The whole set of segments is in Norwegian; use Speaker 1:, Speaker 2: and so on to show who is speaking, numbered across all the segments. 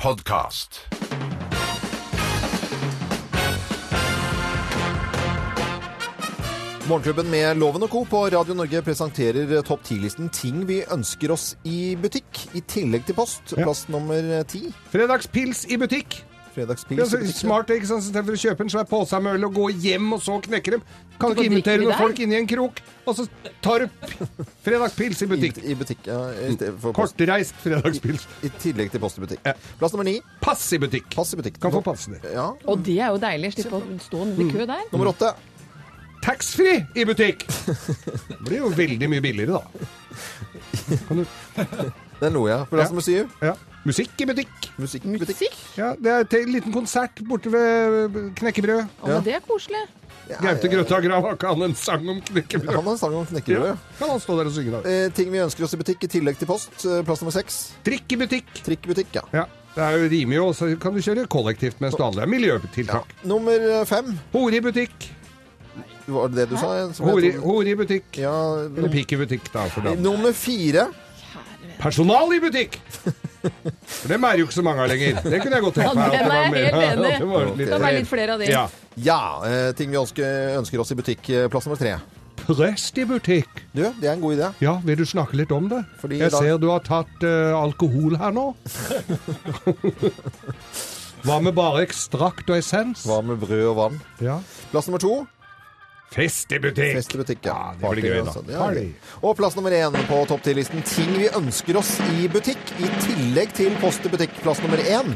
Speaker 1: podkast.
Speaker 2: Morgenklubben med Loven og Co. på Radio Norge presenterer topp 10-listen ting vi ønsker oss i butikk, i tillegg til post. Plass nummer ti.
Speaker 3: Fredagspils i butikk. Det er
Speaker 2: Fredagspils. i
Speaker 3: så
Speaker 2: butikken.
Speaker 3: smart, ikke sant? Så I stedet for å kjøpe en svær pose med øl og gå hjem og så knekke dem. Kan
Speaker 4: Så
Speaker 3: du ikke
Speaker 4: drikker
Speaker 3: invitere
Speaker 4: vi
Speaker 3: noen
Speaker 4: der?
Speaker 3: folk inn i en krok, og så tar du p- fredagspils i butikk.
Speaker 2: I, I butikk, ja. I stedet for post.
Speaker 3: Kortreist fredagspils.
Speaker 2: I tillegg til post i butikk.
Speaker 3: Ja.
Speaker 2: Plass nummer ni.
Speaker 3: Pass i butikk.
Speaker 2: Pass i butikk.
Speaker 3: Kan få passen din.
Speaker 2: Ja.
Speaker 4: Og det er jo deilig. Slippe å stå nede i kø der.
Speaker 2: Nummer åtte.
Speaker 3: Taxfree i butikk. Det blir jo veldig mye billigere, da. Kan du,
Speaker 2: Den lo jeg av. Plass
Speaker 3: Ja.
Speaker 2: nummer syv.
Speaker 3: ja. Musikk i butikk.
Speaker 2: Musikk i butikk.
Speaker 4: Musikk.
Speaker 3: Ja, det er til en liten konsert borte ved knekkebrød.
Speaker 4: Å, men det er koselig.
Speaker 3: Gaute Grøtta Grav har ikke han en sang om knekkebrød?
Speaker 2: Han har en sang om knekkebrød.
Speaker 3: Ja.
Speaker 2: Ja.
Speaker 3: Kan han stå der og synge, da?
Speaker 2: Eh, ting vi ønsker oss i butikk, i tillegg til post. Eh, Plass nummer seks.
Speaker 3: Trikk i butikk.
Speaker 2: Trikk i butikk, ja.
Speaker 3: Ja, det er jo rimelig jo, så kan du kjøre kollektivt mens du handler. Miljøtiltak.
Speaker 2: Nummer eh, fem.
Speaker 3: Hore i butikk.
Speaker 2: Var det det du sa? jeg- som jeg
Speaker 3: Hore,
Speaker 2: trodde?
Speaker 3: hore i butikk.
Speaker 2: Ja.
Speaker 3: Eller pik i butikk, da. For dem.
Speaker 2: Nummer fire.
Speaker 3: Personal i butikk! For dem er jo ikke så mange av lenger. Det kunne jeg godt tenkt
Speaker 4: Ja,
Speaker 3: meg. at det var
Speaker 4: den er jeg
Speaker 3: mer-
Speaker 4: helt enig.
Speaker 3: at det var litt
Speaker 4: Det kan
Speaker 3: mer.
Speaker 4: være litt flere av de.
Speaker 3: Ja.
Speaker 2: Eh, Ja, eh, ting vi ønsker, ønsker oss i butikk. eh, Plass nummer tre.
Speaker 3: Prest i butikk.
Speaker 2: Du, det er en god idé.
Speaker 3: Ja, vil du snakke litt om det?
Speaker 2: Fordi
Speaker 3: jeg
Speaker 2: da-
Speaker 3: ser du har tatt eh, alkohol her nå. Hva med bare ekstrakt og essens?
Speaker 2: Hva med brød og vann?
Speaker 3: Ja.
Speaker 2: Plass nummer to.
Speaker 3: Fest i butikk!
Speaker 2: Fest i butikk.
Speaker 3: Ja, det blir gøy, da.
Speaker 2: altså. Ja,
Speaker 3: Party.
Speaker 2: Og plass nummer én på topp 10-listen. Ting vi ønsker oss i butikk, i tillegg til post i butikk. Plass nummer én.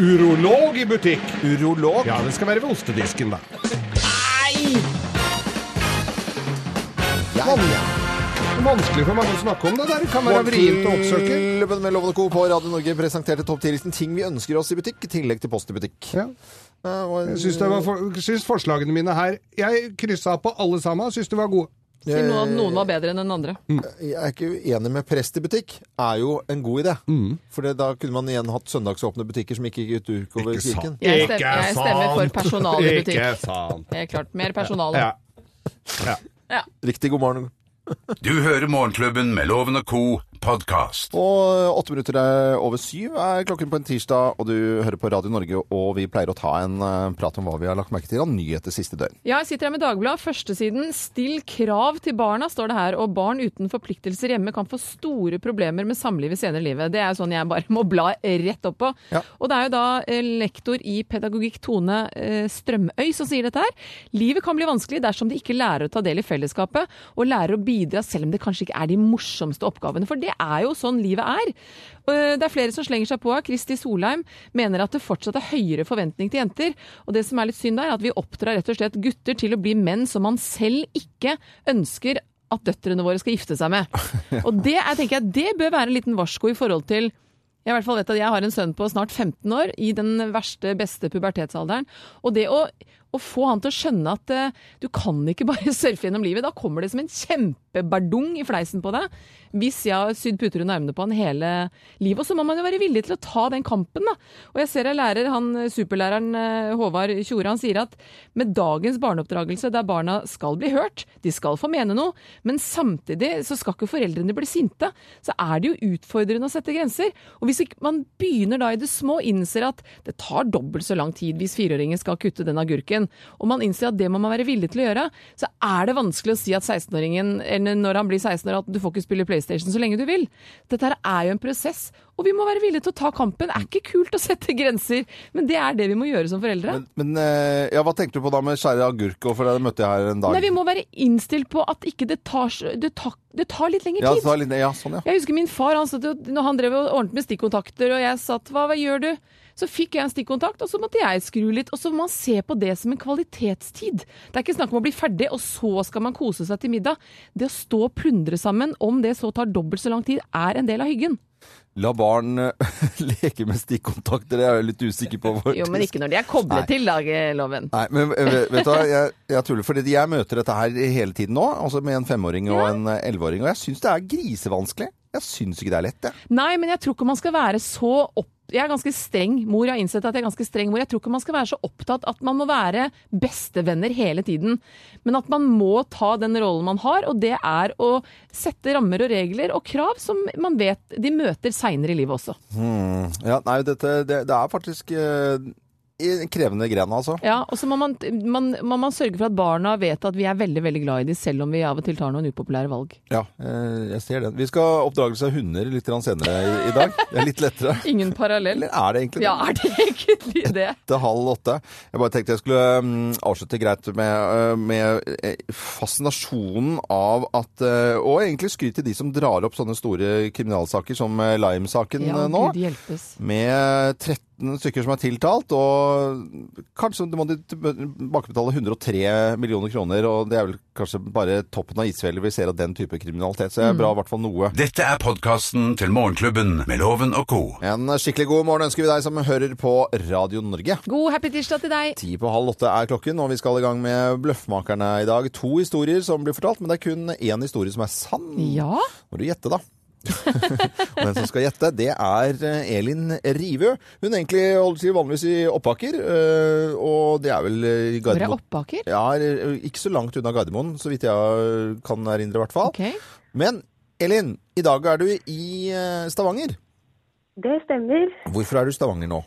Speaker 3: Urolog i butikk!
Speaker 2: Urolog.
Speaker 3: Ja, det skal være ved ostedisken, da.
Speaker 2: Ja, ja.
Speaker 3: Det er vanskelig for mange å snakke om det der. Det kan være vrient å oppsøke.
Speaker 2: Morgenklubben med Loven og Co. på Radio Norge presenterte topp 10-listen ting vi ønsker oss i butikk, i tillegg til post i butikk.
Speaker 3: Ja.
Speaker 2: Ja, og en-
Speaker 3: Jeg syns, det var for, syns forslagene mine her Jeg kryssa på alle sammen. Syns de var gode.
Speaker 4: Til noen, at noen var bedre enn den andre.
Speaker 2: Jeg er ikke uenig med prest i butikk, er jo en god idé. For det- da kunne man igjen hatt søndagsåpne butikker som ikke gikk ut utover
Speaker 3: Ikke sant.
Speaker 2: kirken.
Speaker 4: Jeg stemmer, jeg stemmer for personal i butikk.
Speaker 3: Ikke sant.
Speaker 4: Det er klart. Mer personale.
Speaker 3: Ja. Ja.
Speaker 4: Ja.
Speaker 2: Riktig god morgen.
Speaker 1: Du hører Morgenklubben med Loven og Co. podkast.
Speaker 2: Og eh, åtte minutter er over syv er klokken på en tirsdag, og du hører på Radio Norge, og vi pleier å ta en eh, prat om hva vi har lagt merke til av nyheter siste døgn.
Speaker 4: Ja, jeg sitter her med Dagbladet. Førstesiden 'Still krav til barna', står det her. Og barn uten forpliktelser hjemme kan få store problemer med samlivet senere i livet. Det er jo sånn jeg bare må bla rett opp på.
Speaker 2: Ja.
Speaker 4: Og det er jo da eh, lektor i pedagogikk Tone eh, Strømøy som sier dette her. Livet kan bli vanskelig dersom de ikke lærer å ta del i fellesskapet, og lærer å bidra selv om det kanskje ikke er de morsomste oppgavene. For det er jo sånn livet er. Eh, Det er flere som slenger seg på. Kristi Solheim mener at det fortsatt er høyere forventning til jenter. Og det som er litt synd da, er at vi oppdrar rett og slett gutter til å bli menn som man selv ikke ønsker at døtrene våre skal gifte seg med. Og det er, tenker jeg, det bør være en liten varsko i forhold til jeg, i hvert fall vet at jeg har en sønn på snart 15 år, i den verste, beste pubertetsalderen. Og det å, og få han til å skjønne at eh, du kan ikke bare surfe gjennom livet. Da kommer det som en kjempebardung i fleisen på deg. Hvis jeg har sydd puter under armene på han hele livet. Og så må man jo være villig til å ta den kampen, da. Og jeg ser jeg lærer, han eh, superlæreren eh, Håvard Tjore, han sier at med dagens barneoppdragelse, der barna skal bli hørt, de skal få mene noe, men samtidig så skal ikke foreldrene bli sinte, så er det jo utfordrende å sette grenser. Og hvis ikke man begynner da i det små, innser at det tar dobbelt så lang tid hvis fireåringen skal kutte den agurken, og man innser at det må man være villig til å gjøre, så er det vanskelig å si at 16-åringen, eller når han blir 16 år, at du får ikke spille PlayStation så lenge du vil. Dette her er jo en prosess, og vi må være villige til å ta kampen. Det er ikke kult å sette grenser, men det er det vi må gjøre som foreldre.
Speaker 2: Men eh, ja, hva tenkte du på da med skjære agurk? og For det møtte jeg her en dag.
Speaker 4: Nei, vi må være innstilt på at ikke det tar, så- det tar, det tar litt lengre
Speaker 2: ja,
Speaker 4: tid.
Speaker 2: så, litt- ja, sånn, ja.
Speaker 4: Jeg husker min far, han satt jo, når han drev og ordnet med stikkontakter, og jeg satt hva, hva gjør du? Så fikk jeg en stikkontakt, og så måtte jeg skru litt. Og så må man se på det som en kvalitetstid. Det er ikke snakk om å bli ferdig, og så skal man kose seg til middag. Det å stå og plundre sammen, om det så tar dobbelt så lang tid, er en del av hyggen.
Speaker 2: La barn eh, leke med stikkontakter, det er jeg litt usikker på. hvor-
Speaker 4: Jo, men ikke når de er koblet til, Dageloven.
Speaker 2: Nei, men eh, vet vet du hva, jeg, jeg tuller, fordi jeg møter dette her hele tiden nå, altså med en femåring og en eh, elleveåring, og jeg syns det er grisevanskelig. Jeg syns ikke det er lett, jeg.
Speaker 4: Nei, men jeg tror ikke man skal være så opp... Jeg er ganske streng mor. Jeg har innsett at jeg er ganske streng mor. Jeg tror ikke man skal være så opptatt at man må være bestevenner hele tiden. Men at man må ta den rollen man har, og det er å sette rammer og regler og krav som man vet de møter seinere i livet også.
Speaker 2: Hmm. Ja, nei, dette, det, det er faktisk eh, i- krevende gren, altså.
Speaker 4: Ja, Og så må man, man, må man sørge for at barna vet at vi er veldig veldig glad i dem, selv om vi av og til tar noen upopulære valg.
Speaker 2: Ja, eh, jeg ser den. Vi skal oppdragelse av hunder litt grann senere i, i dag. Det er litt lettere.
Speaker 4: Ingen parallell.
Speaker 2: Eller er det eh, egentlig det?
Speaker 4: Ja, er det egentlig det?
Speaker 2: til halv åtte. Jeg bare tenkte jeg skulle mm, avslutte greit med, eh, med eh, fascinasjonen av at eh, Og egentlig skryt til de som drar opp sånne store kriminalsaker som eh, Lime-saken
Speaker 4: Ja,
Speaker 2: eh, nå.
Speaker 4: Gud hjelpes.
Speaker 2: Med 13 stykker som er tiltalt, og kanskje må de tilbakebetale 103 millioner kroner. Og det er vel kanskje bare toppen av isfjellet vi ser av den type kriminalitet. Så det er bra
Speaker 4: Mm.
Speaker 2: i hvert fall noe.
Speaker 1: Dette er podkasten til Morgenklubben med Loven og co.
Speaker 2: En skikkelig god morgen ønsker vi deg som hører på Radio Norge.
Speaker 4: God happy tirsdag til deg.
Speaker 2: Ti på halv åtte er klokken, og vi skal i gang med Bløffmakerne i dag. To historier som blir fortalt, men det er kun én historie som er sann.
Speaker 4: Ja.
Speaker 2: Må du gjette, da. og den som skal gjette, det er eh, Elin Rivø. Hun egentlig holder til vanligvis i Oppaker, eh, og det er vel eh, i
Speaker 4: Hvor er
Speaker 2: Gardermoen.
Speaker 4: Oppaker?
Speaker 2: Ja, eh, ikke så langt unna Gardermoen, så vidt jeg eh, kan erindre, i hvert fall.
Speaker 4: Ok.
Speaker 2: Men Elin, i dag er du i eh, Stavanger.
Speaker 5: Det stemmer.
Speaker 2: Hvorfor er du i Stavanger nå?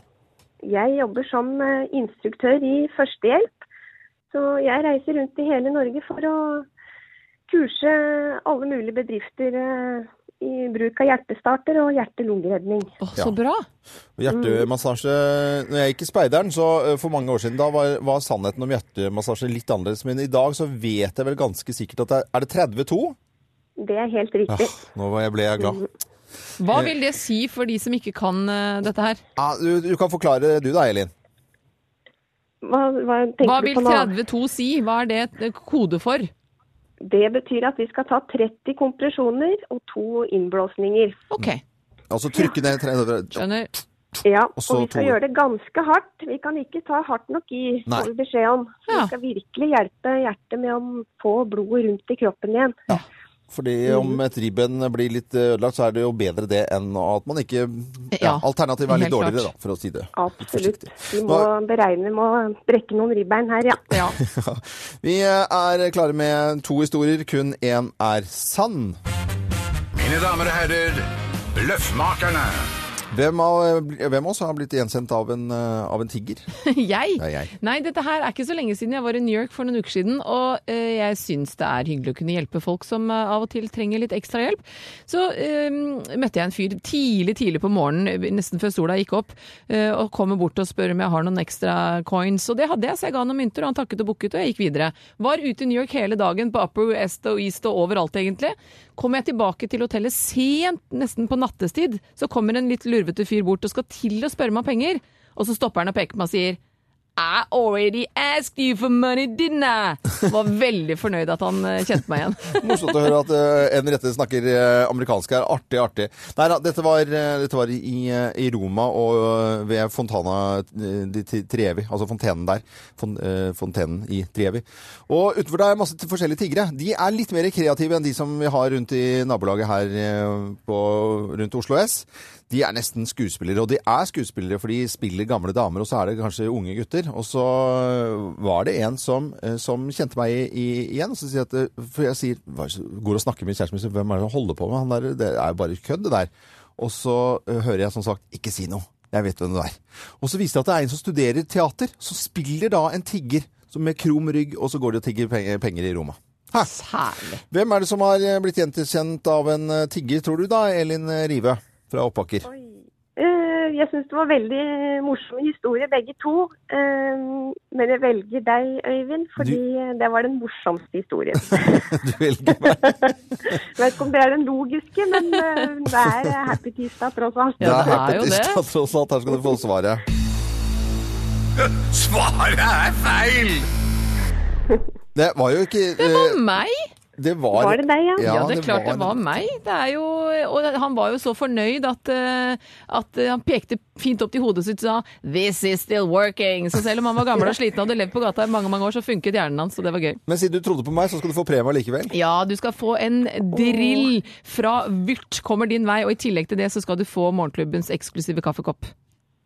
Speaker 5: Jeg jobber som eh, instruktør i førstehjelp. Så jeg reiser rundt i hele Norge for å kurse alle mulige bedrifter eh, i bruk av hjertestarter og hjerte-lungeredning.
Speaker 4: Å,
Speaker 2: Ja.
Speaker 4: så bra.
Speaker 2: Og Hjertemassasje Når jeg gikk i Speideren så eh, for mange år siden, da var, var sannheten om hjertemassasje litt annerledes. Men i dag så vet jeg vel ganske sikkert at det er, er det 32?
Speaker 5: Det er helt riktig.
Speaker 2: Nå var jeg- ble jeg glad.
Speaker 4: Hva
Speaker 2: Eh.
Speaker 4: vil det si for de som ikke kan eh, dette her?
Speaker 2: Ja, du, du kan forklare du da, Elin.
Speaker 5: Hva, hva
Speaker 4: Hva
Speaker 5: tenker
Speaker 4: vil
Speaker 5: du på nå?
Speaker 4: 32 si? Hva er det et kode for?
Speaker 5: Det betyr at vi skal ta 30 kompresjoner og to innblåsninger.
Speaker 4: Ok,
Speaker 2: Altså trykke ned 32
Speaker 4: skjønner.
Speaker 5: Ja, og,
Speaker 2: Og så
Speaker 5: vi skal
Speaker 2: to-
Speaker 5: gjøre det ganske hardt. Vi kan ikke ta hardt nok i,
Speaker 2: Nei.
Speaker 5: får vi beskjed om. Så
Speaker 4: Ja.
Speaker 5: Vi skal virkelig hjelpe hjertet med å få blodet rundt i kroppen igjen.
Speaker 2: Fordi om et ribben blir litt eh, ødelagt, så er det jo bedre det enn at man ikke ja,
Speaker 4: Ja,
Speaker 2: Alternativet er litt
Speaker 4: helt klart.
Speaker 2: dårligere, da, for å si det.
Speaker 5: Absolutt.
Speaker 2: forsiktig.
Speaker 5: Vi må beregne, vi må brekke noen ribbein her, ja.
Speaker 4: Ja.
Speaker 2: Vi er klare med to historier. Kun én er sann.
Speaker 1: Mine damer og herrer, Bløffmakerne.
Speaker 2: Hvem av, hvem av oss har blitt gjensendt av en, eh, av en tigger?
Speaker 4: Jeg?
Speaker 2: Det er jeg.
Speaker 4: Nei, dette her er ikke så lenge siden. Jeg var i New York for noen uker siden, og eh, jeg syns det er hyggelig å kunne hjelpe folk som eh, av og til trenger litt ekstra hjelp. Så eh, møtte jeg en fyr tidlig, tidlig på morgenen, eh, nesten før sola gikk opp, eh, og kommer bort og spør om jeg har noen ekstra coins. Og det hadde jeg, så jeg ga han noen mynter, og han takket og bukket, og jeg gikk videre. Var ute i New York hele dagen, på Upper West og East og overalt, egentlig. Kommer jeg tilbake til hotellet sent, nesten på nattestid, så kommer en litt lurvete fyr bort og skal til å spørre meg om penger, og så stopper han og peker på meg og sier i already asked you for money, didn't I? Var veldig fornøyd at han eh, kjente meg igjen.
Speaker 2: Morsomt å høre at eh, en rette snakker eh, amerikansk her. Artig, artig. Nei da, dette var, eh, dette var i, eh, i Roma og eh, ved Fontana eh, di Ti- Trevi, altså fontenen der. Fon, eh, fontenen i Trevi. Og utenfor der er masse t- forskjellige tiggere. De er litt mer kreative enn de som vi har rundt i nabolaget her eh, på, rundt Oslo S. De er nesten skuespillere, og de er skuespillere for de spiller gamle damer, og så er det kanskje unge gutter. Og så øh, var det en som, eh, som kjente meg i, i, igjen, og så sier jeg at eh, For jeg sier, hva, er det som- går og snakker med kjæresten min, sier, hvem er det som holder på med? Han der, det er jo bare kødd, det der. Og så eh, hører jeg som sagt, ikke si noe. Jeg vet hvem det er. Og så viser det at det er en som studerer teater, som spiller da en tigger som med krum rygg, og så går de og tigger penger, penger i Roma. Hæ?
Speaker 4: Særlig.
Speaker 2: Hvem er det som har eh, blitt gjenkjent av en eh, tigger, tror du da, Elin øh, Rive fra Oppaker?
Speaker 5: Eh, Jeg syns det var veldig morsomme historier, begge to. Eh, Men jeg velger deg, Øyvind, fordi det var den morsomste historien.
Speaker 2: Du velger meg.
Speaker 5: Jeg vet ikke om det er den logiske, men eh, det er happy tirsdag tross alt.
Speaker 2: Det
Speaker 4: Ja,
Speaker 2: er
Speaker 4: det er
Speaker 2: happy
Speaker 4: jo det.
Speaker 2: tirsdag, tross alt. Her skal du få svaret.
Speaker 1: Svaret er feil!
Speaker 2: Det var jo ikke
Speaker 4: Det var
Speaker 2: eh,
Speaker 4: meg!
Speaker 2: Det var,
Speaker 5: Var det deg, ja?
Speaker 4: Ja, det er klart det var meg. Det er jo, og han var jo så fornøyd at, eh, at eh, han pekte fint opp til hodet sitt og sa 'This is still working'. Så selv om han var gammel og sliten og hadde levd på gata i mange mange år, så funket hjernen hans, og det var gøy.
Speaker 2: Men siden du trodde på meg, så skal du få premie likevel.
Speaker 4: Ja, du skal få en drill fra Vyrt kommer din vei, og i tillegg til det så skal du få morgenklubbens eksklusive kaffekopp.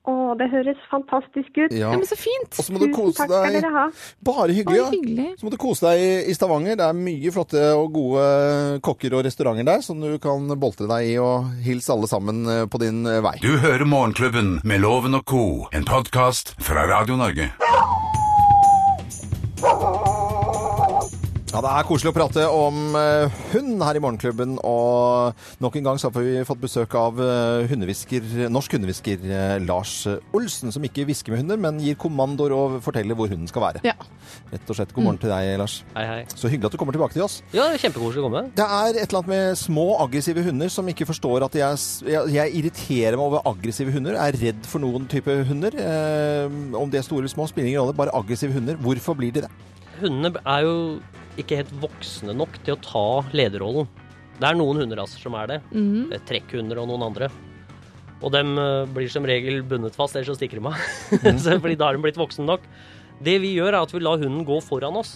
Speaker 5: Å, det høres fantastisk ut.
Speaker 4: Ja, men så fint!
Speaker 2: Og så må du
Speaker 5: Tusen
Speaker 2: kose
Speaker 5: takk skal
Speaker 2: deg.
Speaker 5: dere ha.
Speaker 2: Bare hyggelig,
Speaker 4: Bare hyggelig.
Speaker 2: Så må du kose deg i- i Stavanger. Det er mye flotte og gode eh, kokker og restauranter der som du kan boltre deg i, og hils alle sammen eh, på din eh, vei.
Speaker 1: Du hører Morgenklubben med Loven og Co., en podkast fra Radio Norge.
Speaker 2: Ja, Det er koselig å prate om eh, hund her i Morgenklubben. Og nok en gang så har vi fått besøk av eh, hundehvisker, norsk hundehvisker eh, Lars Olsen, som ikke hvisker med hunder, men gir kommandoer og forteller hvor hunden skal være.
Speaker 4: Ja.
Speaker 2: Rett og slett god morgen til deg, Lars.
Speaker 6: Hei, hei.
Speaker 2: Så hyggelig at du kommer tilbake til oss.
Speaker 6: Ja, det er kjempekoselig å komme.
Speaker 2: Det er et eller annet med små, aggressive hunder som ikke forstår at jeg, jeg, jeg irriterer meg over aggressive hunder. Er redd for noen type hunder. Eh, om de er store eller små, spiller ingen rolle. Bare aggressive hunder. Hvorfor blir de det?
Speaker 6: Hundene er jo ikke helt voksne nok til å ta lederrollen. Det er noen hunderaser som er det. det er trekkhunder og noen andre. Og dem eh, blir som regel bundet fast, ellers så stikker de av. Så- Fordi da er de blitt voksne nok. Det vi gjør, er at vi lar hunden gå foran oss.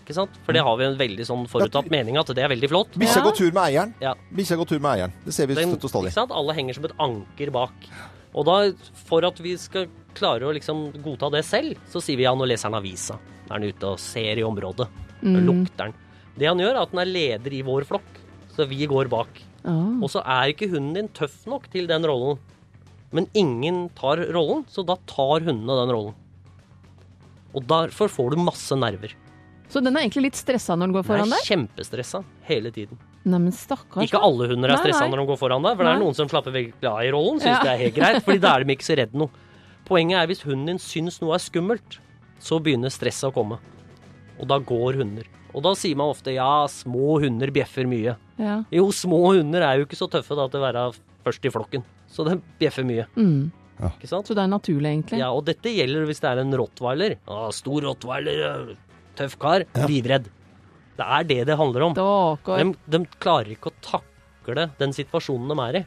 Speaker 6: Ikke sant? For det har vi en veldig sånn forutatt mening at det er veldig flott.
Speaker 2: Bikkja
Speaker 4: Ja.
Speaker 2: går tur med eieren.
Speaker 6: Ja.
Speaker 2: Bikkja går tur med eieren. Det ser vi
Speaker 6: Den,
Speaker 2: støtt og stadig.
Speaker 6: ikke sant? Alle henger som et anker bak. Og da, for at vi skal klare å liksom godta det selv, så sier vi ja, nå leser han avisa. Da er han ute og ser i området. Da lukter han. Det han gjør, er at han er leder i vår flokk, så vi går bak.
Speaker 4: Ah.
Speaker 6: Og så er ikke hunden din tøff nok til den rollen. Men ingen tar rollen, så da tar hundene den rollen. Og derfor får du masse nerver.
Speaker 4: Så den er egentlig litt stressa når den går
Speaker 6: Den
Speaker 4: foran
Speaker 6: er
Speaker 4: deg?
Speaker 6: kjempestressa hele tiden.
Speaker 4: Neimen, stakkars.
Speaker 6: Ikke alle hunder er
Speaker 4: Nei,
Speaker 6: stressa
Speaker 4: nei.
Speaker 6: når de går foran deg, for det er
Speaker 4: Nei.
Speaker 6: noen som slapper veldig av i rollen, syns
Speaker 4: Ja.
Speaker 6: det er helt greit, fordi da er de ikke så redd noe. Poenget er hvis hunden din syns noe er skummelt, så begynner stresset å komme. Og da går hunder. Og da sier man ofte ja, små hunder bjeffer mye.
Speaker 4: Ja.
Speaker 6: Jo, små hunder er jo ikke så tøffe da til å være først i flokken, så de bjeffer mye.
Speaker 4: Mm.
Speaker 6: Ikke sant?
Speaker 4: Så det er naturlig, egentlig?
Speaker 6: Ja, og dette gjelder hvis det er en rottweiler. Å, stor rottweiler, tøff kar, livredd. Det er det det handler om.
Speaker 4: Stakkar.
Speaker 6: De, de klarer ikke å takle den situasjonen de er i.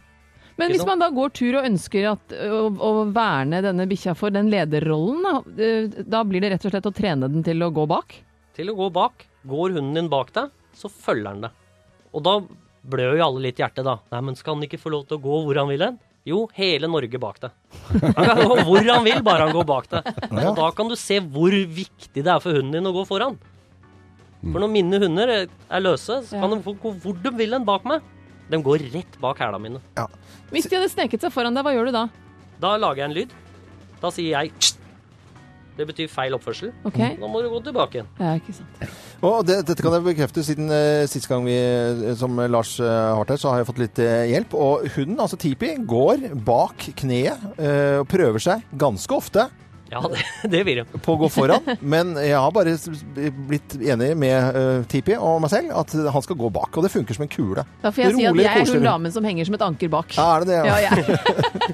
Speaker 4: Men
Speaker 6: Ikke
Speaker 4: hvis
Speaker 6: sant?
Speaker 4: man da går tur og ønsker at, å, å verne denne bikkja for den lederrollen, da, eh, da blir det rett og slett å trene den til å gå bak?
Speaker 6: Til å gå bak. Går hunden din bak deg, så følger han deg. Og da blør jo alle litt hjertet, da. Nei, men skal han ikke få lov til å gå hvor han vil hen? Jo, hele Norge bak deg. Han kan gå hvor han vil, bare han går bak deg. Og da kan du se hvor viktig det er for hunden din å gå foran. For når mine hunder er løse, så kan
Speaker 4: Ja.
Speaker 6: de få gå hvor de vil hen bak meg. De går rett bak hæla mine.
Speaker 4: Hvis de hadde sneket seg foran deg, hva gjør du da?
Speaker 6: Da lager jeg en lyd. Da sier jeg «Tst». Det betyr feil oppførsel.
Speaker 4: Ok?
Speaker 6: Nå må du gå tilbake igjen.
Speaker 4: Ja, ikke sant.
Speaker 2: Og det, dette kan jeg bekrefte, siden uh, sist gang vi, eh, som Lars eh, har vært her, så har jeg fått litt eh, hjelp. Og hunden, altså Tipi, går bak kneet eh, og prøver seg ganske ofte.
Speaker 6: Ja, det, det vil de.
Speaker 2: på å gå foran, men jeg har bare s- blitt enig med eh, Tipi og meg selv at han skal gå bak, og det funker som en kule.
Speaker 4: Da får jeg si at
Speaker 2: Rolig,
Speaker 4: jeg er
Speaker 2: koselig.
Speaker 4: hun damen som henger som et anker bak.
Speaker 2: Ja, er det det?
Speaker 4: Ja, jeg.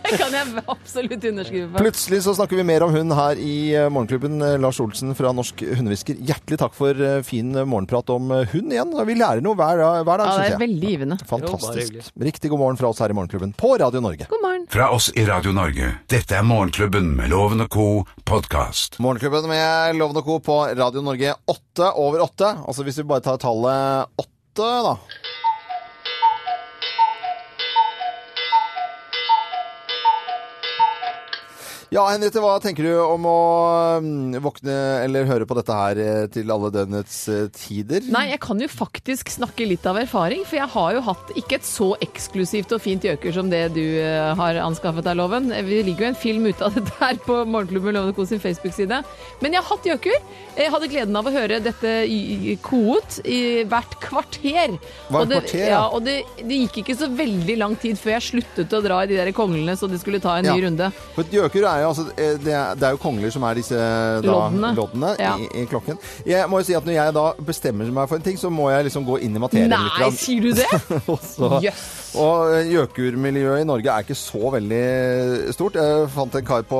Speaker 4: Det kan jeg absolutt underskrive på.
Speaker 2: Plutselig så snakker vi mer om hun her i eh, Morgenklubben. Eh, Lars Olsen fra Norsk Hundehvisker, hjertelig takk for eh, fin morgenprat om eh, hund igjen. Og Vi lærer noe hver dag, hver dag
Speaker 4: Ja, det er
Speaker 2: synes jeg.
Speaker 4: veldig givende.
Speaker 6: Jo, bare
Speaker 2: Fantastisk.
Speaker 6: hyggelig.
Speaker 2: Riktig god morgen fra oss her i Morgenklubben på Radio Norge.
Speaker 4: God morgen.
Speaker 1: Fra oss i Radio Norge. Dette er Morgenklubben med Loven og co. podkast.
Speaker 2: Morgenklubben med Loven og Co. på Radio Norge åtte over åtte. Altså hvis vi bare tar tallet åtte, da. Ja, Henriette, hva tenker du om å mm, våkne eller høre på dette her eh, til alle døgnets eh, tider?
Speaker 4: Nei, jeg kan jo faktisk snakke litt av erfaring, for jeg har jo hatt ikke et så eksklusivt og fint gjøkur som det du eh, har anskaffet deg, Loven. Eh, Vi ligger jo en film ute av dette her på Morgenklubben Loven og Co. sin Facebook-side. Men jeg har hatt gjøkur. Jeg hadde gleden av å høre dette i- i- koet i hvert kvarter.
Speaker 2: Hvert
Speaker 4: Og det,
Speaker 2: kvarter, ja.
Speaker 4: ja. Og det, det gikk ikke så veldig lang tid før jeg sluttet å dra i de der konglene, så de skulle ta en ny
Speaker 2: Ja.
Speaker 4: runde.
Speaker 2: For et gjøkur er jo altså eh, Det er, det er jo kongler som er disse eh, da,
Speaker 4: Loddene.
Speaker 2: loddene
Speaker 4: Ja.
Speaker 2: i, i klokken. Jeg må jo si at når jeg da bestemmer meg for en ting, så må jeg liksom gå inn i materien litt.
Speaker 4: Nei,
Speaker 2: grann.
Speaker 4: sier du det?
Speaker 2: Og så-
Speaker 4: Jøss.
Speaker 2: Og eh, gjøkurmiljøet i Norge er ikke så veldig eh, stort. Jeg fant en kar på,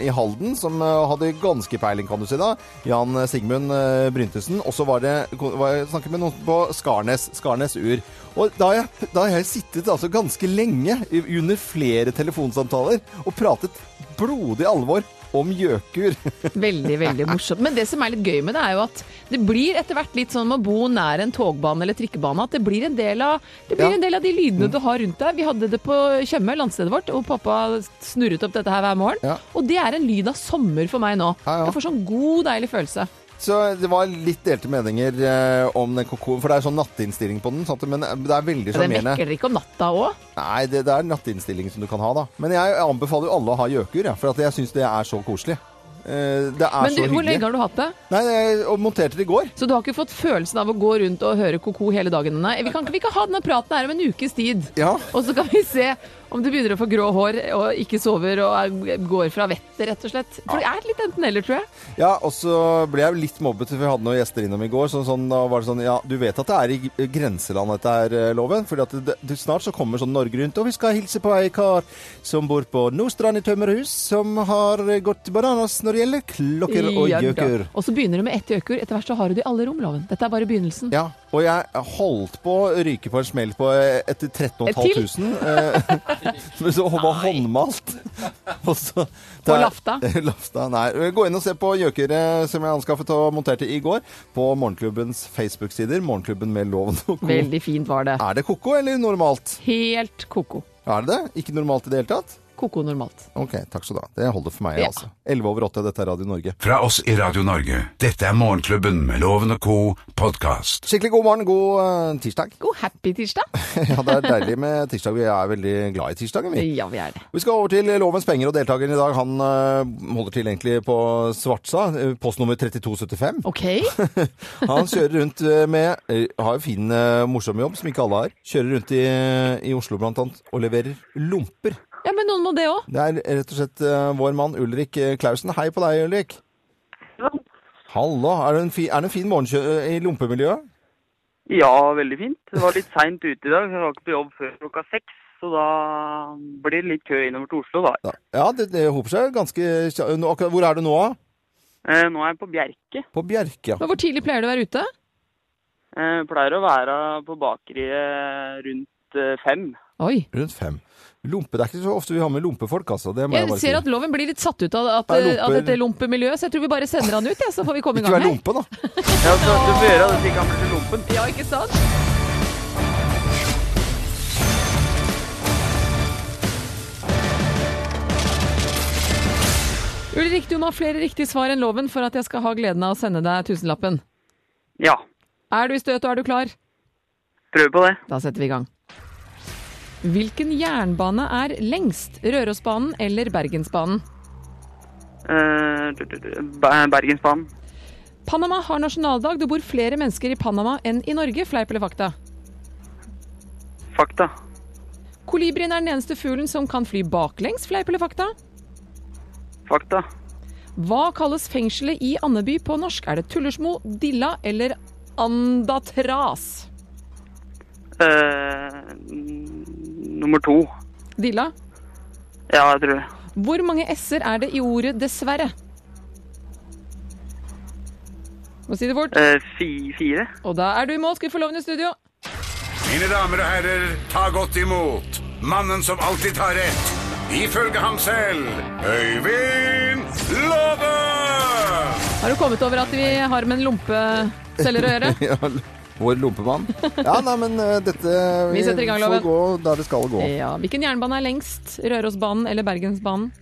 Speaker 2: i Halden som eh, hadde ganske peiling, kan du si da. Jan Sigmund eh, Bryntesen. Og så var det var jeg snakket med noen på Skarnes, Skarnes Ur. Og da har jeg, da har jeg sittet altså ganske lenge i- under flere telefonsamtaler og pratet blodig alvor om gjøkur.
Speaker 4: Veldig, veldig morsomt. Men det som er litt gøy med det, er jo at det blir etter hvert litt sånn med å bo nær en togbane eller trikkebane, at det blir en del av, det blir
Speaker 2: Ja. Mm.
Speaker 4: en del av de lydene du har rundt deg. Vi hadde det på Tjøme, landstedet vårt, og pappa snurret opp dette her hver morgen.
Speaker 2: Ja.
Speaker 4: Og det er en lyd av sommer for meg nå.
Speaker 2: Ja, ja.
Speaker 4: Jeg får sånn god, deilig følelse.
Speaker 2: Så det var litt delte meninger eh, om den kokoen, for det er sånn nattinnstilling på den, sant? men eh, det er veldig
Speaker 4: Den
Speaker 2: sjarmerende.
Speaker 4: vekker dere ikke om natta òg?
Speaker 2: Nei, det, det er nattinnstilling som du kan ha, da. Men jeg anbefaler jo alle å ha gjøkur, ja, for at jeg syns det er så koselig. Eh, Det er
Speaker 4: Men du,
Speaker 2: så
Speaker 4: hvor lenge
Speaker 2: hyggelig.
Speaker 4: har du hatt det?
Speaker 2: Nei, jeg og monterte det i går.
Speaker 4: Så du har ikke fått følelsen av å gå rundt og høre ko-ko hele dagen? Nei, vi kan ikke vi kan ha denne praten her om en ukes tid.
Speaker 2: Ja.
Speaker 4: Og så kan vi se om du begynner å få grå hår og ikke sover og er, går fra vettet, rett og slett. For det er litt enten-eller, tror jeg.
Speaker 2: ja, og så ble jeg jo litt mobbet, for vi hadde noen gjester innom i går. Så sånn, da var det sånn Ja, du vet at det er i g- grenseland, dette her, eh, loven? For snart så kommer sånn Norge Rundt, og vi skal hilse på ei kar som bor på Nordstrand i tømmerhus, som har eh, gått bananas når det gjelder klokker og
Speaker 4: Ja da.
Speaker 2: gjøkur.
Speaker 4: Og så begynner du med ett gjøkur. Etter hvert så har du det i alle rom, loven. Dette er bare begynnelsen.
Speaker 2: Ja, og jeg holdt på å ryke på en smell på eh, etter 13 500. eh, Men så var håndmalt. Og så,
Speaker 4: På Lafta?
Speaker 2: Lafta, nei. Gå inn og se på gjøkere som jeg anskaffet og monterte i går på Morgenklubbens Facebook-sider. Morgenklubben med loven og ko.
Speaker 4: Veldig fint var det.
Speaker 2: Er det koko eller normalt?
Speaker 4: Helt ko-ko.
Speaker 2: Er det det? Ikke normalt i det hele tatt?
Speaker 4: Ko-ko normalt.
Speaker 2: Ok, takk skal du ha. Det holder for meg,
Speaker 4: Ja.
Speaker 2: altså. 11 over 8, dette er Radio Norge.
Speaker 1: Fra oss i Radio Norge. Dette er Morgenklubben med Loven og co. podkast.
Speaker 2: Skikkelig god morgen, god eh, tirsdag.
Speaker 4: God happy tirsdag.
Speaker 2: Ja, det er deilig med tirsdag. Vi er veldig glad i tirsdagen, vi.
Speaker 4: Ja, vi er det.
Speaker 2: Vi skal over til Lovens penger, og deltakeren i dag han eh, holder til egentlig på Svartsa, eh, postnummer 3275.
Speaker 4: OK.
Speaker 2: Han kjører rundt eh, med, eh, har jo fin, eh, morsom jobb som ikke alle har, kjører rundt i, i Oslo blant annet og leverer lomper.
Speaker 4: Ja, men noen må det òg.
Speaker 2: Det er rett og slett eh, vår mann Ulrik eh, Klausen. Hei på deg, Ulrik. Hallo, er det en, fi, er det en fin morgen eh, i lompemiljøet?
Speaker 7: Ja, veldig fint. Det var litt seint ute i dag. Jeg var ikke på jobb før klokka seks. Så da blir det litt kø innover til Oslo, da.
Speaker 2: Da- Ja, det, det hoper seg ganske... kja- nå- akkurat- Hvor er du nå? da?
Speaker 7: Eh, nå er jeg på Bjerke.
Speaker 2: På Bjerke, ja.
Speaker 4: Men hvor tidlig pleier du å være ute?
Speaker 7: Eh, pleier å være på bakeriet rundt eh, fem.
Speaker 4: Oi.
Speaker 2: Rundt fem. Lompe, det er ikke så ofte vi har med lompefolk, altså. Det må jeg,
Speaker 4: Jeg
Speaker 2: bare si.
Speaker 4: ser at loven blir litt satt ut av, at,
Speaker 2: Det er lomper.
Speaker 4: av dette lompemiljøet, så jeg tror vi bare sender han ut, ja, så får vi komme i
Speaker 2: Ikke vær
Speaker 4: gang her.
Speaker 2: lompe, da.
Speaker 7: Ja, så du får gjøre det så ikke han blir til lompen.
Speaker 4: Ja, ikke sant? Ulrik, du må ha flere riktige svar enn loven for at jeg skal ha gleden av å sende deg tusenlappen.
Speaker 7: Ja,
Speaker 4: Er du i støt, og er du klar?
Speaker 7: prøv på det.
Speaker 4: Da setter vi i gang. Hvilken jernbane er lengst? Rørosbanen eller Bergensbanen?
Speaker 7: Eh, du- du- du- Be- Bergensbanen.
Speaker 4: Panama har nasjonaldag. Det bor flere mennesker i Panama enn i Norge. Fleip eller fakta?
Speaker 7: Fakta.
Speaker 4: Kolibrien er den eneste fuglen som kan fly baklengs. Fleip eller fakta?
Speaker 7: Fakta.
Speaker 4: Hva kalles fengselet i Andeby på norsk? Er det Tullersmo, Dilla eller Andatras?
Speaker 7: Eh, n- nummer to.
Speaker 4: Dilla.
Speaker 7: Ja, jeg tror det.
Speaker 4: Hvor mange s-er er det i ordet 'dessverre'? Må si det fort.
Speaker 7: Eh, fi, fire.
Speaker 4: Og da er du i mål. Skal vi få loven i studio?
Speaker 1: Mine damer og herrer, ta godt imot mannen som alltid tar rett, ifølge ham selv, Øyvind Låve!
Speaker 4: Har du kommet over at vi har med en lompeselger å gjøre?
Speaker 2: Ja, Vår lompemann. Ja, nei, men eh, dette eh,
Speaker 4: Vi setter i gang, Loven.
Speaker 2: får gå der det skal gå.
Speaker 4: Ja. Hvilken jernbane er lengst? Rørosbanen eller Bergensbanen?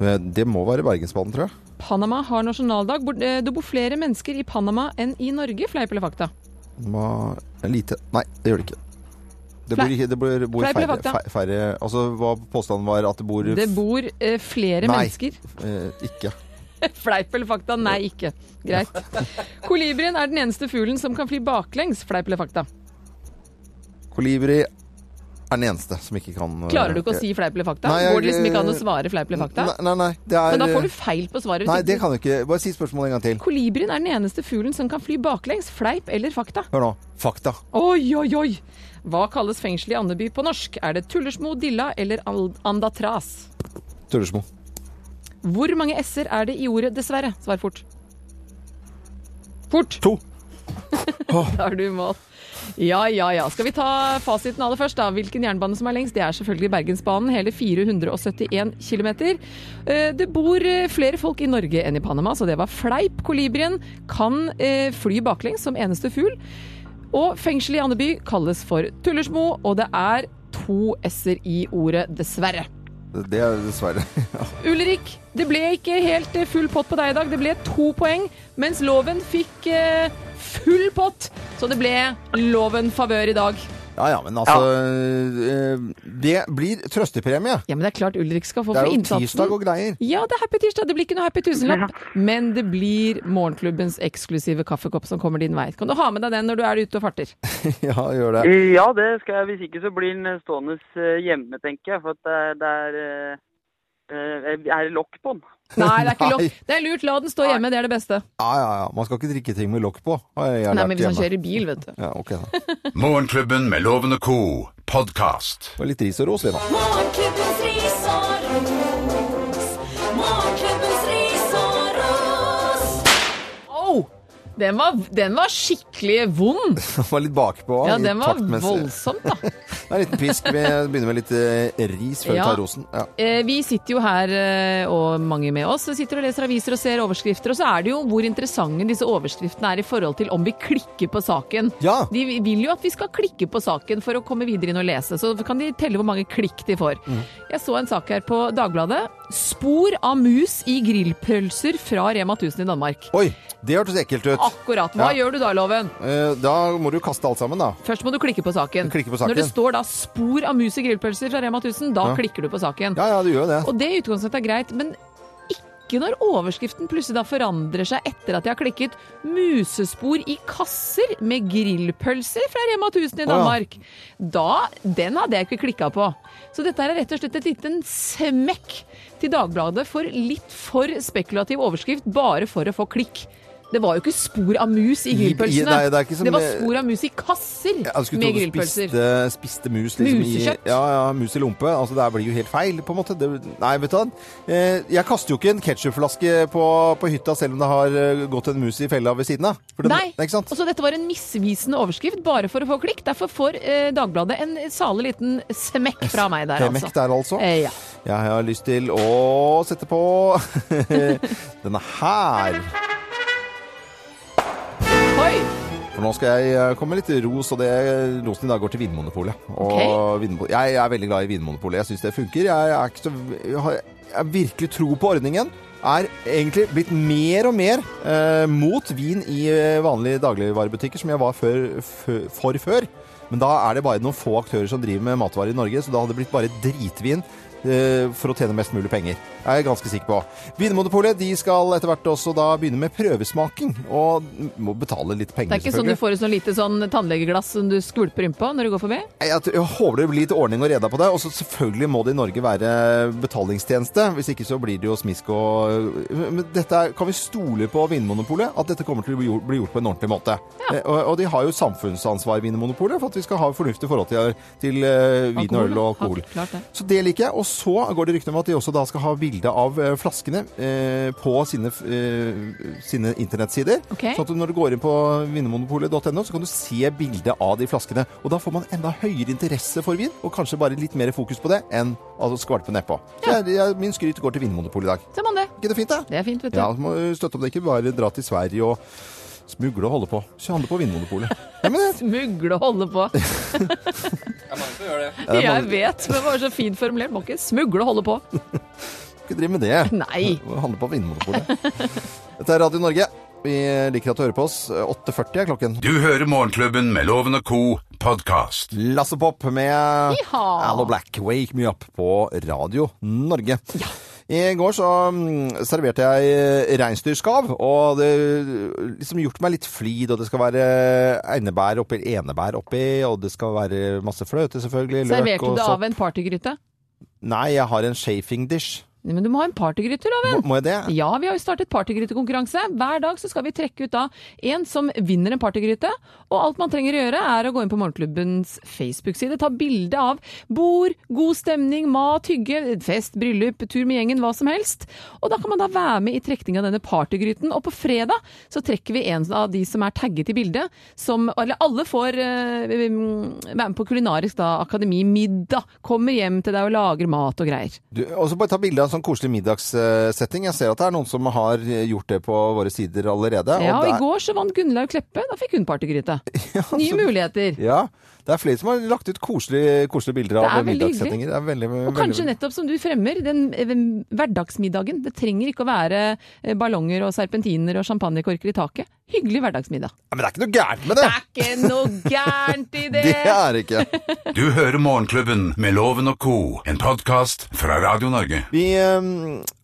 Speaker 2: Eh, Det må være Bergensbanen, tror jeg.
Speaker 4: Panama har nasjonaldag. Bor- eh, Det bor flere mennesker i Panama enn i Norge, fleip eller fakta?
Speaker 2: Det må- Lite Nei, det gjør det ikke. Det bor,
Speaker 4: Fleip.
Speaker 2: ikke, det bor, bor
Speaker 4: Fleip eller
Speaker 2: færre,
Speaker 4: fakta?
Speaker 2: fær- færre Altså hva påstanden var? At det bor
Speaker 4: Det bor eh, flere
Speaker 2: Nei.
Speaker 4: mennesker.
Speaker 2: eh, Ikke.
Speaker 4: Fleip eller fakta? Nei, ikke. Greit. Kolibrien er den eneste fuglen som kan fly baklengs. Fleip eller fakta?
Speaker 2: Kolibri er den eneste som ikke kan eh,
Speaker 4: Klarer du ikke å si fleip eller fakta?
Speaker 2: Nei, jeg-
Speaker 4: Går det liksom ikke an å svare fleip eller fakta?
Speaker 2: Nei, nei. nei det er,
Speaker 4: Men da får du feil på svaret. hvis
Speaker 2: Nei,
Speaker 4: ikke
Speaker 2: det
Speaker 4: du-
Speaker 2: kan du ikke. Bare si spørsmålet en gang til.
Speaker 4: Kolibrien er den eneste fuglen som kan fly baklengs. Fleip eller fakta?
Speaker 2: Hør nå. Fakta.
Speaker 4: Oi, oi, oi! Hva kalles fengselet i Andeby på norsk? Er det Tullersmo, Dilla eller Al- Andatras?
Speaker 2: Tullersmo.
Speaker 4: Hvor mange s-er er det i ordet 'dessverre'? Svar fort. Fort!
Speaker 2: To.
Speaker 4: da er du i mål. Ja, ja, ja. Skal vi ta fasiten aller først, da? Hvilken jernbane som er lengst? Det er selvfølgelig Bergensbanen. Hele 471 km. Det bor eh, flere folk i Norge enn i Panama, så det var fleip. Kolibrien kan eh, fly baklengs som eneste fugl. Og fengselet i Andeby kalles for Tullersmo, og det er to s-er i ordet 'dessverre'.
Speaker 2: Det- Det er dessverre.
Speaker 4: Ulrik, det ble ikke helt eh, full pott på deg i dag. Det ble to poeng, mens loven fikk eh, full pott. Så det ble loven favør i dag.
Speaker 2: Ja ja, men altså eh, Det blir trøstepremie.
Speaker 4: Ja, men det er klart Ulrik skal få
Speaker 2: Det er
Speaker 4: for
Speaker 2: jo
Speaker 4: innsatsen.
Speaker 2: tirsdag og greier.
Speaker 4: Ja, det er happy tirsdag. Det blir ikke noe happy tusenlapp, men det blir morgenklubbens eksklusive kaffekopp som kommer din vei. Kan du ha med deg den når du er ute og farter?
Speaker 2: Ja, gjør det.
Speaker 7: Ja, det skal jeg. Hvis ikke så blir den stående eh, hjemme, tenker jeg. For at det er, det er eh, eh, Er det lokk på den?
Speaker 4: Nei, det er ikke lov.
Speaker 2: Nei.
Speaker 4: Det er lurt. La den stå hjemme, det er det beste.
Speaker 2: Ja, ja, ja. Man skal ikke drikke ting med lokk på. har jeg
Speaker 4: Nei,
Speaker 2: lært
Speaker 4: men hvis han
Speaker 2: hjemme.
Speaker 4: kjører bil, vet du.
Speaker 2: Ja, ok da.
Speaker 1: Morgenklubben med Loven og Co. podkast.
Speaker 2: Det var litt ris og ros, vi da.
Speaker 8: Morgenklubbens ris og ros. Morgenklubbens ris og ros.
Speaker 4: Au! Den var, den var skikkelig vond.
Speaker 2: Det var litt bakpå.
Speaker 4: Ja,
Speaker 2: i
Speaker 4: den var
Speaker 2: taktmessig.
Speaker 4: voldsomt, da.
Speaker 2: Det er en liten pisk. Vi begynner med litt eh, ris før
Speaker 4: Ja.
Speaker 2: vi tar rosen. Ja.
Speaker 4: Eh, Vi sitter jo her, eh, og mange med oss, sitter og leser aviser og ser overskrifter. Og så er det jo hvor interessante disse overskriftene er i forhold til om vi klikker på saken.
Speaker 2: Ja.
Speaker 4: De vil jo at vi skal klikke på saken for å komme videre inn og lese. Så kan de telle hvor mange klikk de får.
Speaker 2: Mm.
Speaker 4: Jeg så en sak her på Dagbladet. Spor av mus i grillpølser fra Rema 1000 i Danmark.
Speaker 2: Oi, det hørtes ekkelt ut.
Speaker 4: Akkurat. Hva
Speaker 2: Ja.
Speaker 4: gjør du da, Loven?
Speaker 2: Eh, Da må du kaste alt sammen, da.
Speaker 4: Først må du klikke på saken.
Speaker 2: Klikke på saken.
Speaker 4: Når det står da 'spor av mus i grillpølser' fra Rema 1000, da klikker du på saken.
Speaker 2: Ja, ja, du gjør jo det.
Speaker 4: Og det i utgangspunktet er greit, men ikke når overskriften plutselig da forandrer seg etter at jeg har klikket 'musespor i kasser med grillpølser' fra Rema 1000 i
Speaker 2: ja.
Speaker 4: Danmark. Da, Den hadde jeg ikke klikka på. Så dette her er rett og slett et liten smekk til Dagbladet for litt for spekulativ overskrift bare for å få klikk. Det var jo ikke spor av mus i
Speaker 2: I- i-
Speaker 4: grillpølsene.
Speaker 2: nei, det er ikke som
Speaker 4: var
Speaker 2: det-
Speaker 4: spor av mus i kasser
Speaker 2: Jeg skulle
Speaker 4: med
Speaker 2: trodd du
Speaker 4: grillpølser.
Speaker 2: spiste, spiste mus. Liksom,
Speaker 4: Musekjøtt.
Speaker 2: I, ja, ja, mus i lompe. Altså, det her blir jo helt feil, på en måte. Det, nei, vet du hva. Eh, Jeg kaster jo ikke en ketsjupflaske på, på hytta selv om det har eh, gått en mus i fella ved siden av. For den-
Speaker 4: Nei.
Speaker 2: Ikke sant?
Speaker 4: Og så dette var en misvisende overskrift bare for å få klikk. Derfor får eh, Dagbladet en salig liten smekk fra meg der,
Speaker 2: Det er
Speaker 4: altså.
Speaker 2: mekt der, altså.
Speaker 4: Eh, ja.
Speaker 2: Jeg har lyst til å sette på denne her.
Speaker 4: Oi!
Speaker 2: For nå skal jeg eh, komme med litt ros, og det rosen i dag går til Vinmonopolet. Og
Speaker 4: Ok.
Speaker 2: Vinmo- jeg er veldig glad i Vinmonopolet. Jeg syns det funker. Jeg, er ikke så, jeg har jeg har virkelig tro på ordningen. Er egentlig blitt mer og mer eh, mot vin i eh, vanlige dagligvarebutikker, som jeg var før, fø- for før. Men da er det bare noen få aktører som driver med matvarer i Norge, så da hadde det blitt bare dritvin eh, for å tjene mest mulig penger. Det er jeg ganske sikker på. Vinmonopolet de skal etter hvert også da begynne med prøvesmaking, og må betale litt
Speaker 4: Det
Speaker 2: penger,
Speaker 4: er ikke sånn du får et sånn lite sånn tannlegeglass som du skvulper innpå når du går forbi?
Speaker 2: Jeg, jeg, jeg håper det blir litt ordning og reda på det. Og så selvfølgelig må det i Norge være betalingstjeneste. Hvis ikke så blir det jo smisk og Men dette er, kan vi stole på Vinmonopolet? At dette kommer til å bli gjort, bli gjort på en ordentlig måte. Eh, Og, og de har jo samfunnsansvar, Vinmonopolet, for at vi skal ha fornuftig forhold til, til eh, vin og øl og alkohol.
Speaker 4: Ja, klart det.
Speaker 2: Så det liker jeg. Og så går det rykter om at de også da skal ha bilde av eh, flaskene eh, på sine, f- eh, sine internettsider.
Speaker 4: Ok.
Speaker 2: Sånn at du når du går inn på vinmonopolet.no, så kan du se bilde av de flaskene. Og da får man enda høyere interesse for vin, og kanskje bare litt mer fokus på det enn altså, skvalpe nedpå. Så jeg, jeg, min skryt går til Vinmonopolet i dag.
Speaker 4: Så er man det.
Speaker 2: Ikke det fint, da?
Speaker 4: Det er fint, vet du.
Speaker 2: Ja, så må du støtte opp. Det er ikke bare dra til Sverige og smugle og holde på. Så handle på Vinmonopolet. Ja, men det,
Speaker 4: Smugle og holde på.
Speaker 9: Det er mange som gjør det.
Speaker 4: Jeg vet, men det var så fint formulert. Må ikke smugle og holde på.
Speaker 2: ikke driv med det.
Speaker 4: Nei.
Speaker 2: Det handler på Vinmonopolet. Dette er Radio Norge. Vi liker at du hører på oss. 8.40 er klokken.
Speaker 1: Du hører Morgenklubben med Loven og Co. podkast.
Speaker 2: Lasse Pop med
Speaker 4: Yeehaw!
Speaker 2: Allo Black, Wake Me Up på Radio Norge. I går så mm, serverte jeg reinsdyrskav, og det liksom gjort meg litt flid, og det skal være einebær oppi, enebær oppi, og det skal være masse fløte selvfølgelig, løk
Speaker 4: Serverte
Speaker 2: og
Speaker 4: du
Speaker 2: sopp.
Speaker 4: av en partygryte?
Speaker 2: Nei, jeg har en chafing dish.
Speaker 4: Nei, Men du må ha en partygryte, Loven.
Speaker 2: Må, må jeg det?
Speaker 4: Ja, vi har jo startet partygrytekonkurranse. Hver dag så skal vi trekke ut da en som vinner en partygryte. Og alt man trenger å gjøre er å gå inn på Morgenklubbens Facebook-side, ta bilde av bord, god stemning, mat, hygge, fest, bryllup, tur med gjengen, hva som helst. Og da kan man da være med i trekning av denne partygryten. Og på fredag så trekker vi en av de som er tagget i bildet, som Eller alle får eh, være med på kulinarisk da, akademimiddag. Kommer hjem til deg og lager mat og greier.
Speaker 2: Du, og så bare ta bilde av en sånn koselig middagssetting. Jeg ser at det er noen som har gjort det på våre sider allerede.
Speaker 4: Ja, og
Speaker 2: det
Speaker 4: i
Speaker 2: er,
Speaker 4: går så vant Gunnlaug Kleppe. Da fikk hun partygryte. Nye muligheter.
Speaker 2: Ja, det er flere som har lagt ut koselige, koselige bilder
Speaker 4: Det er
Speaker 2: av
Speaker 4: veldig
Speaker 2: middagssettinger. Det er veldig,
Speaker 4: Og
Speaker 2: veldig-
Speaker 4: kanskje nettopp som du fremmer, den eh, hverdagsmiddagen. Det trenger ikke å være eh, ballonger og serpentiner og champagnekorker i taket. Hyggelig hverdagsmiddag.
Speaker 2: Ja, Men det er ikke noe gærent med det!
Speaker 4: Det er ikke noe gærent i det!
Speaker 2: Det er det ikke.
Speaker 1: Du hører Morgenklubben med Loven og Co., en podkast fra Radio Norge.
Speaker 2: Vi eh,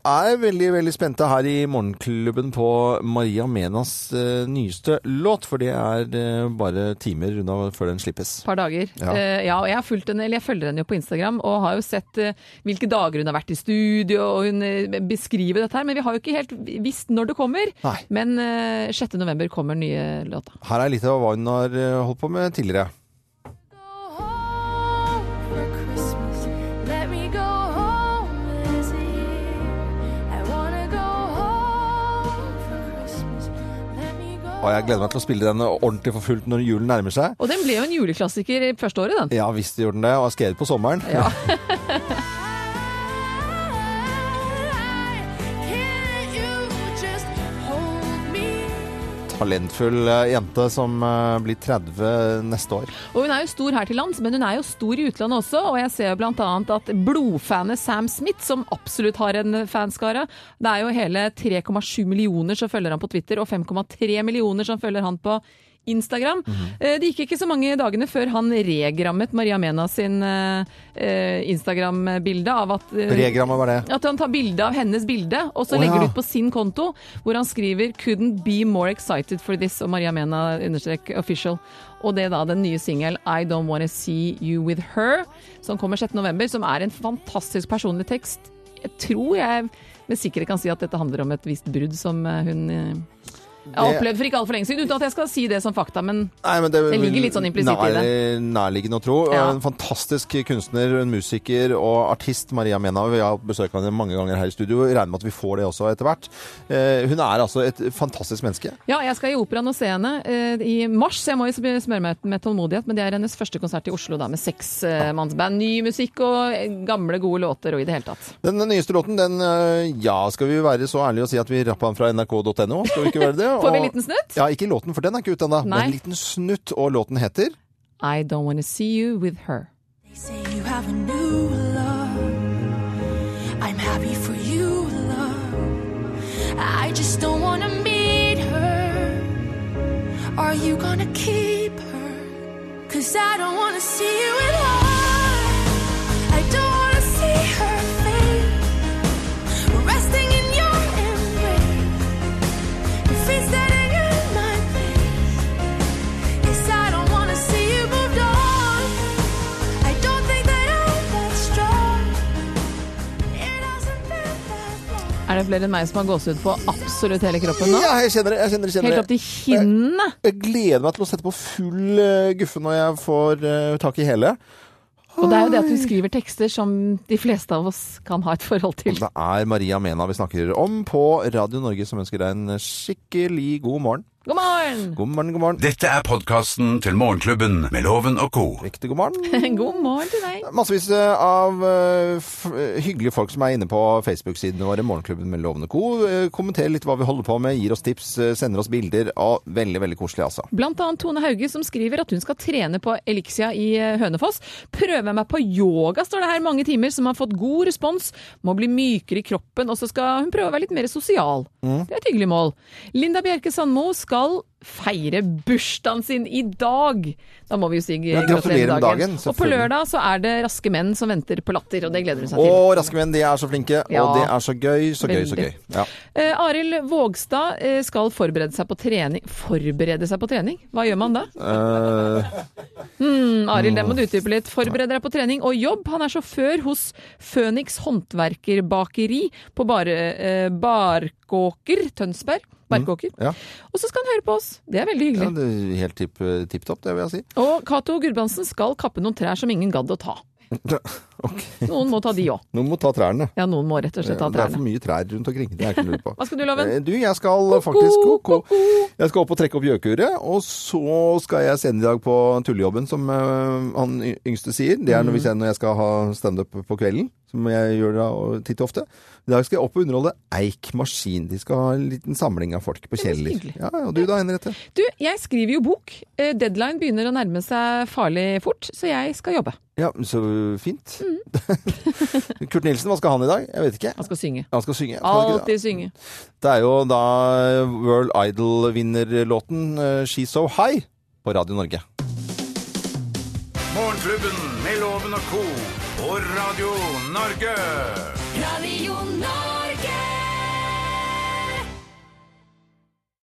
Speaker 2: er veldig veldig spente her i Morgenklubben på Maria Menas eh, nyeste låt, for det er eh, bare timer unna før den slippes.
Speaker 4: par dager.
Speaker 2: Ja.
Speaker 4: Eh, ja og jeg, har fulgt henne, eller jeg følger henne jo på Instagram og har jo sett eh, hvilke dager hun har vært i studio og hun eh, beskriver dette her. Men vi har jo ikke helt visst når det kommer.
Speaker 2: Nei.
Speaker 4: Men eh, 6. november kommer den nye låta.
Speaker 2: Her er litt av hva hun har eh, holdt på med tidligere. Og jeg gleder meg til å spille den ordentlig for fullt når julen nærmer seg.
Speaker 4: Og den ble jo en juleklassiker i første året, den.
Speaker 2: Ja visst gjorde den det, og har skrevet på sommeren.
Speaker 4: Ja.
Speaker 2: Talentfull eh, jente som eh, blir 30 neste år.
Speaker 4: Og hun er jo stor her til lands, men hun er jo stor i utlandet også. Og jeg ser jo blant annet at blodfanet Sam Smith, som absolutt har en fanskare Det er jo hele 3,7 millioner som følger han på Twitter, og 5,3 millioner som følger han på Instagram. Eh, Det gikk ikke så mange dagene før han regrammet Maria Mena sin eh, eh, Instagram-bilde av at eh,
Speaker 2: Regrammet var det.
Speaker 4: at han tar bilde av hennes bilde, og så
Speaker 2: Å,
Speaker 4: legger
Speaker 2: ja.
Speaker 4: det ut på sin konto, hvor han skriver 'Couldn't be more excited for this', og Maria Mena understrek official. Og det er da den nye singelen 'I Don't Wanna See You With Her', som kommer 6.11., som er en fantastisk personlig tekst. Jeg tror jeg med sikkerhet kan si at dette handler om et visst brudd som eh, hun eh, har
Speaker 2: Det-
Speaker 4: opplevd for ikke altfor lenge siden, uten at jeg skal si det som fakta, men
Speaker 2: Nei, men det,
Speaker 4: Det ligger litt sånn implisitt i
Speaker 2: det. Nærliggende å tro.
Speaker 4: Ja.
Speaker 2: En fantastisk kunstner, en musiker og artist, Maria Mena. Vi har besøkt henne mange ganger her i studio. Jeg Regner med at vi får det også etter hvert. Eh, Hun er altså et fantastisk menneske.
Speaker 4: Ja, jeg skal i operaen og se henne eh, i mars, så jeg må jo smøre meg med tålmodighet. Men det er hennes første konsert i Oslo da, med seksmannsband. Ny musikk og eh, gamle, gode låter og i det hele tatt.
Speaker 2: Den nyeste låten, den eh, Ja, skal vi være så ærlige og si at vi rappa den fra nrk.no? Skal vi ikke være det?
Speaker 4: Får vi
Speaker 2: Og-
Speaker 4: en liten snutt?
Speaker 2: Ja, ikke låten, for den er ikke ute ennå. Men
Speaker 4: Nei.
Speaker 2: en liten snutt, og låten heter
Speaker 4: I don't wanna see you with her.
Speaker 8: Say you have a new love. I'm happy for you, love. I just don't wanna meet her. Are you gonna keep her? Cause I don't wanna see you in her. I don't wanna see her
Speaker 4: det flere enn meg som har gåsehud på absolutt hele kroppen nå.
Speaker 2: Ja, jeg kjenner det. jeg kjenner det, kjenner
Speaker 4: Helt
Speaker 2: det.
Speaker 4: opp til kinnene.
Speaker 2: Jeg gleder meg til å sette på full eh, guffe når jeg får eh, tak i hele.
Speaker 4: Og det er jo det at hun skriver tekster som de fleste av oss kan ha et forhold til.
Speaker 2: Det er Maria Mena vi snakker om på Radio Norge, som ønsker deg en skikkelig god morgen.
Speaker 4: God morgen!
Speaker 2: God morgen, god morgen.
Speaker 1: Dette er podkasten til Morgenklubben med Loven og co.
Speaker 2: Riktig god morgen.
Speaker 4: God morgen til deg.
Speaker 2: Massevis eh, av eh, f eh, hyggelige folk som er inne på Facebook-sidene våre, Morgenklubben med Lovende Co. Eh, Kommenter litt hva vi holder på med, gir oss tips, eh, sender oss bilder. Ah, veldig, veldig koselig, altså.
Speaker 4: Blant annet Tone Hauge som skriver at hun skal trene på Elixia i eh, Hønefoss. Prøve meg på yoga, står det her. Mange timer som har fått god respons. Må bli mykere i kroppen, og så skal hun prøve å være litt mer sosial.
Speaker 2: Mm.
Speaker 4: Det er et hyggelig mål. Linda Bjerke Sandmo skal feire bursdagen sin i dag. Da må vi jo si eh,
Speaker 2: Ja, gratulerer med dagen,
Speaker 4: og på
Speaker 2: selvfølgelig.
Speaker 4: lørdag så er det Raske menn som venter på latter, og det gleder hun seg
Speaker 2: Å,
Speaker 4: til.
Speaker 2: Raske menn, de er så flinke,
Speaker 4: Ja.
Speaker 2: og det er så gøy, så gøy, så gøy.
Speaker 4: Veldig.
Speaker 2: Ja.
Speaker 4: Eh, Arild Vågstad eh, skal forberede seg på trening. Forberede seg på trening? Hva gjør man da?
Speaker 2: Eh,
Speaker 4: Mm, Arild, det må du utdype litt. Forbered deg på trening og jobb. Han er sjåfør hos Føniks håndverkerbakeri på bare, eh, Barkåker, Tønsberg. Barkåker.
Speaker 2: Mm. ja.
Speaker 4: Og så skal han høre på oss. Det er veldig
Speaker 2: ja,
Speaker 4: hyggelig.
Speaker 2: det er helt tipp, eh, tipp topp, det vil jeg si.
Speaker 4: Og Cato Gudbrandsen skal kappe noen trær som ingen gadd å ta.
Speaker 2: Ok,
Speaker 4: Noen må ta de òg.
Speaker 2: Nå må ta trærne.
Speaker 4: Ja, noen må rett og slett ta
Speaker 2: Det er for
Speaker 4: trærne.
Speaker 2: mye trær rundt omkring. Det er ikke noe å lure på.
Speaker 4: Hva skal du, Loven?
Speaker 2: Eh, Du, jeg skal faktisk ko-ko. Jeg skal opp og trekke opp gjøkeuret, og så skal jeg senere i dag på tullejobben, som eh, han y- yngste sier. Det
Speaker 4: Mm.
Speaker 2: er når, hvis jeg, når jeg skal ha standup på kvelden, som jeg gjør da og titt og ofte. I dag skal jeg opp og underholde Eik Maskin. De skal ha en liten samling av folk på Kjeller.
Speaker 4: hyggelig.
Speaker 2: Ja, og du da, Henriette?
Speaker 4: Du, jeg skriver jo bok. Eh, Deadline begynner å nærme seg farlig fort, så jeg skal jobbe.
Speaker 2: Ja, så fint. Kurt Nilsen, hva skal han i dag? Jeg vet ikke.
Speaker 4: Han Mm. skal synge.
Speaker 2: Han skal synge. Skal han ikke det?
Speaker 4: Alltid synge.
Speaker 2: Det er jo da World Idol-vinnerlåten eh, She's So High på Radio Norge.
Speaker 1: Morgenklubben med Loven og co. på Radio Norge.
Speaker 8: Radio Norge.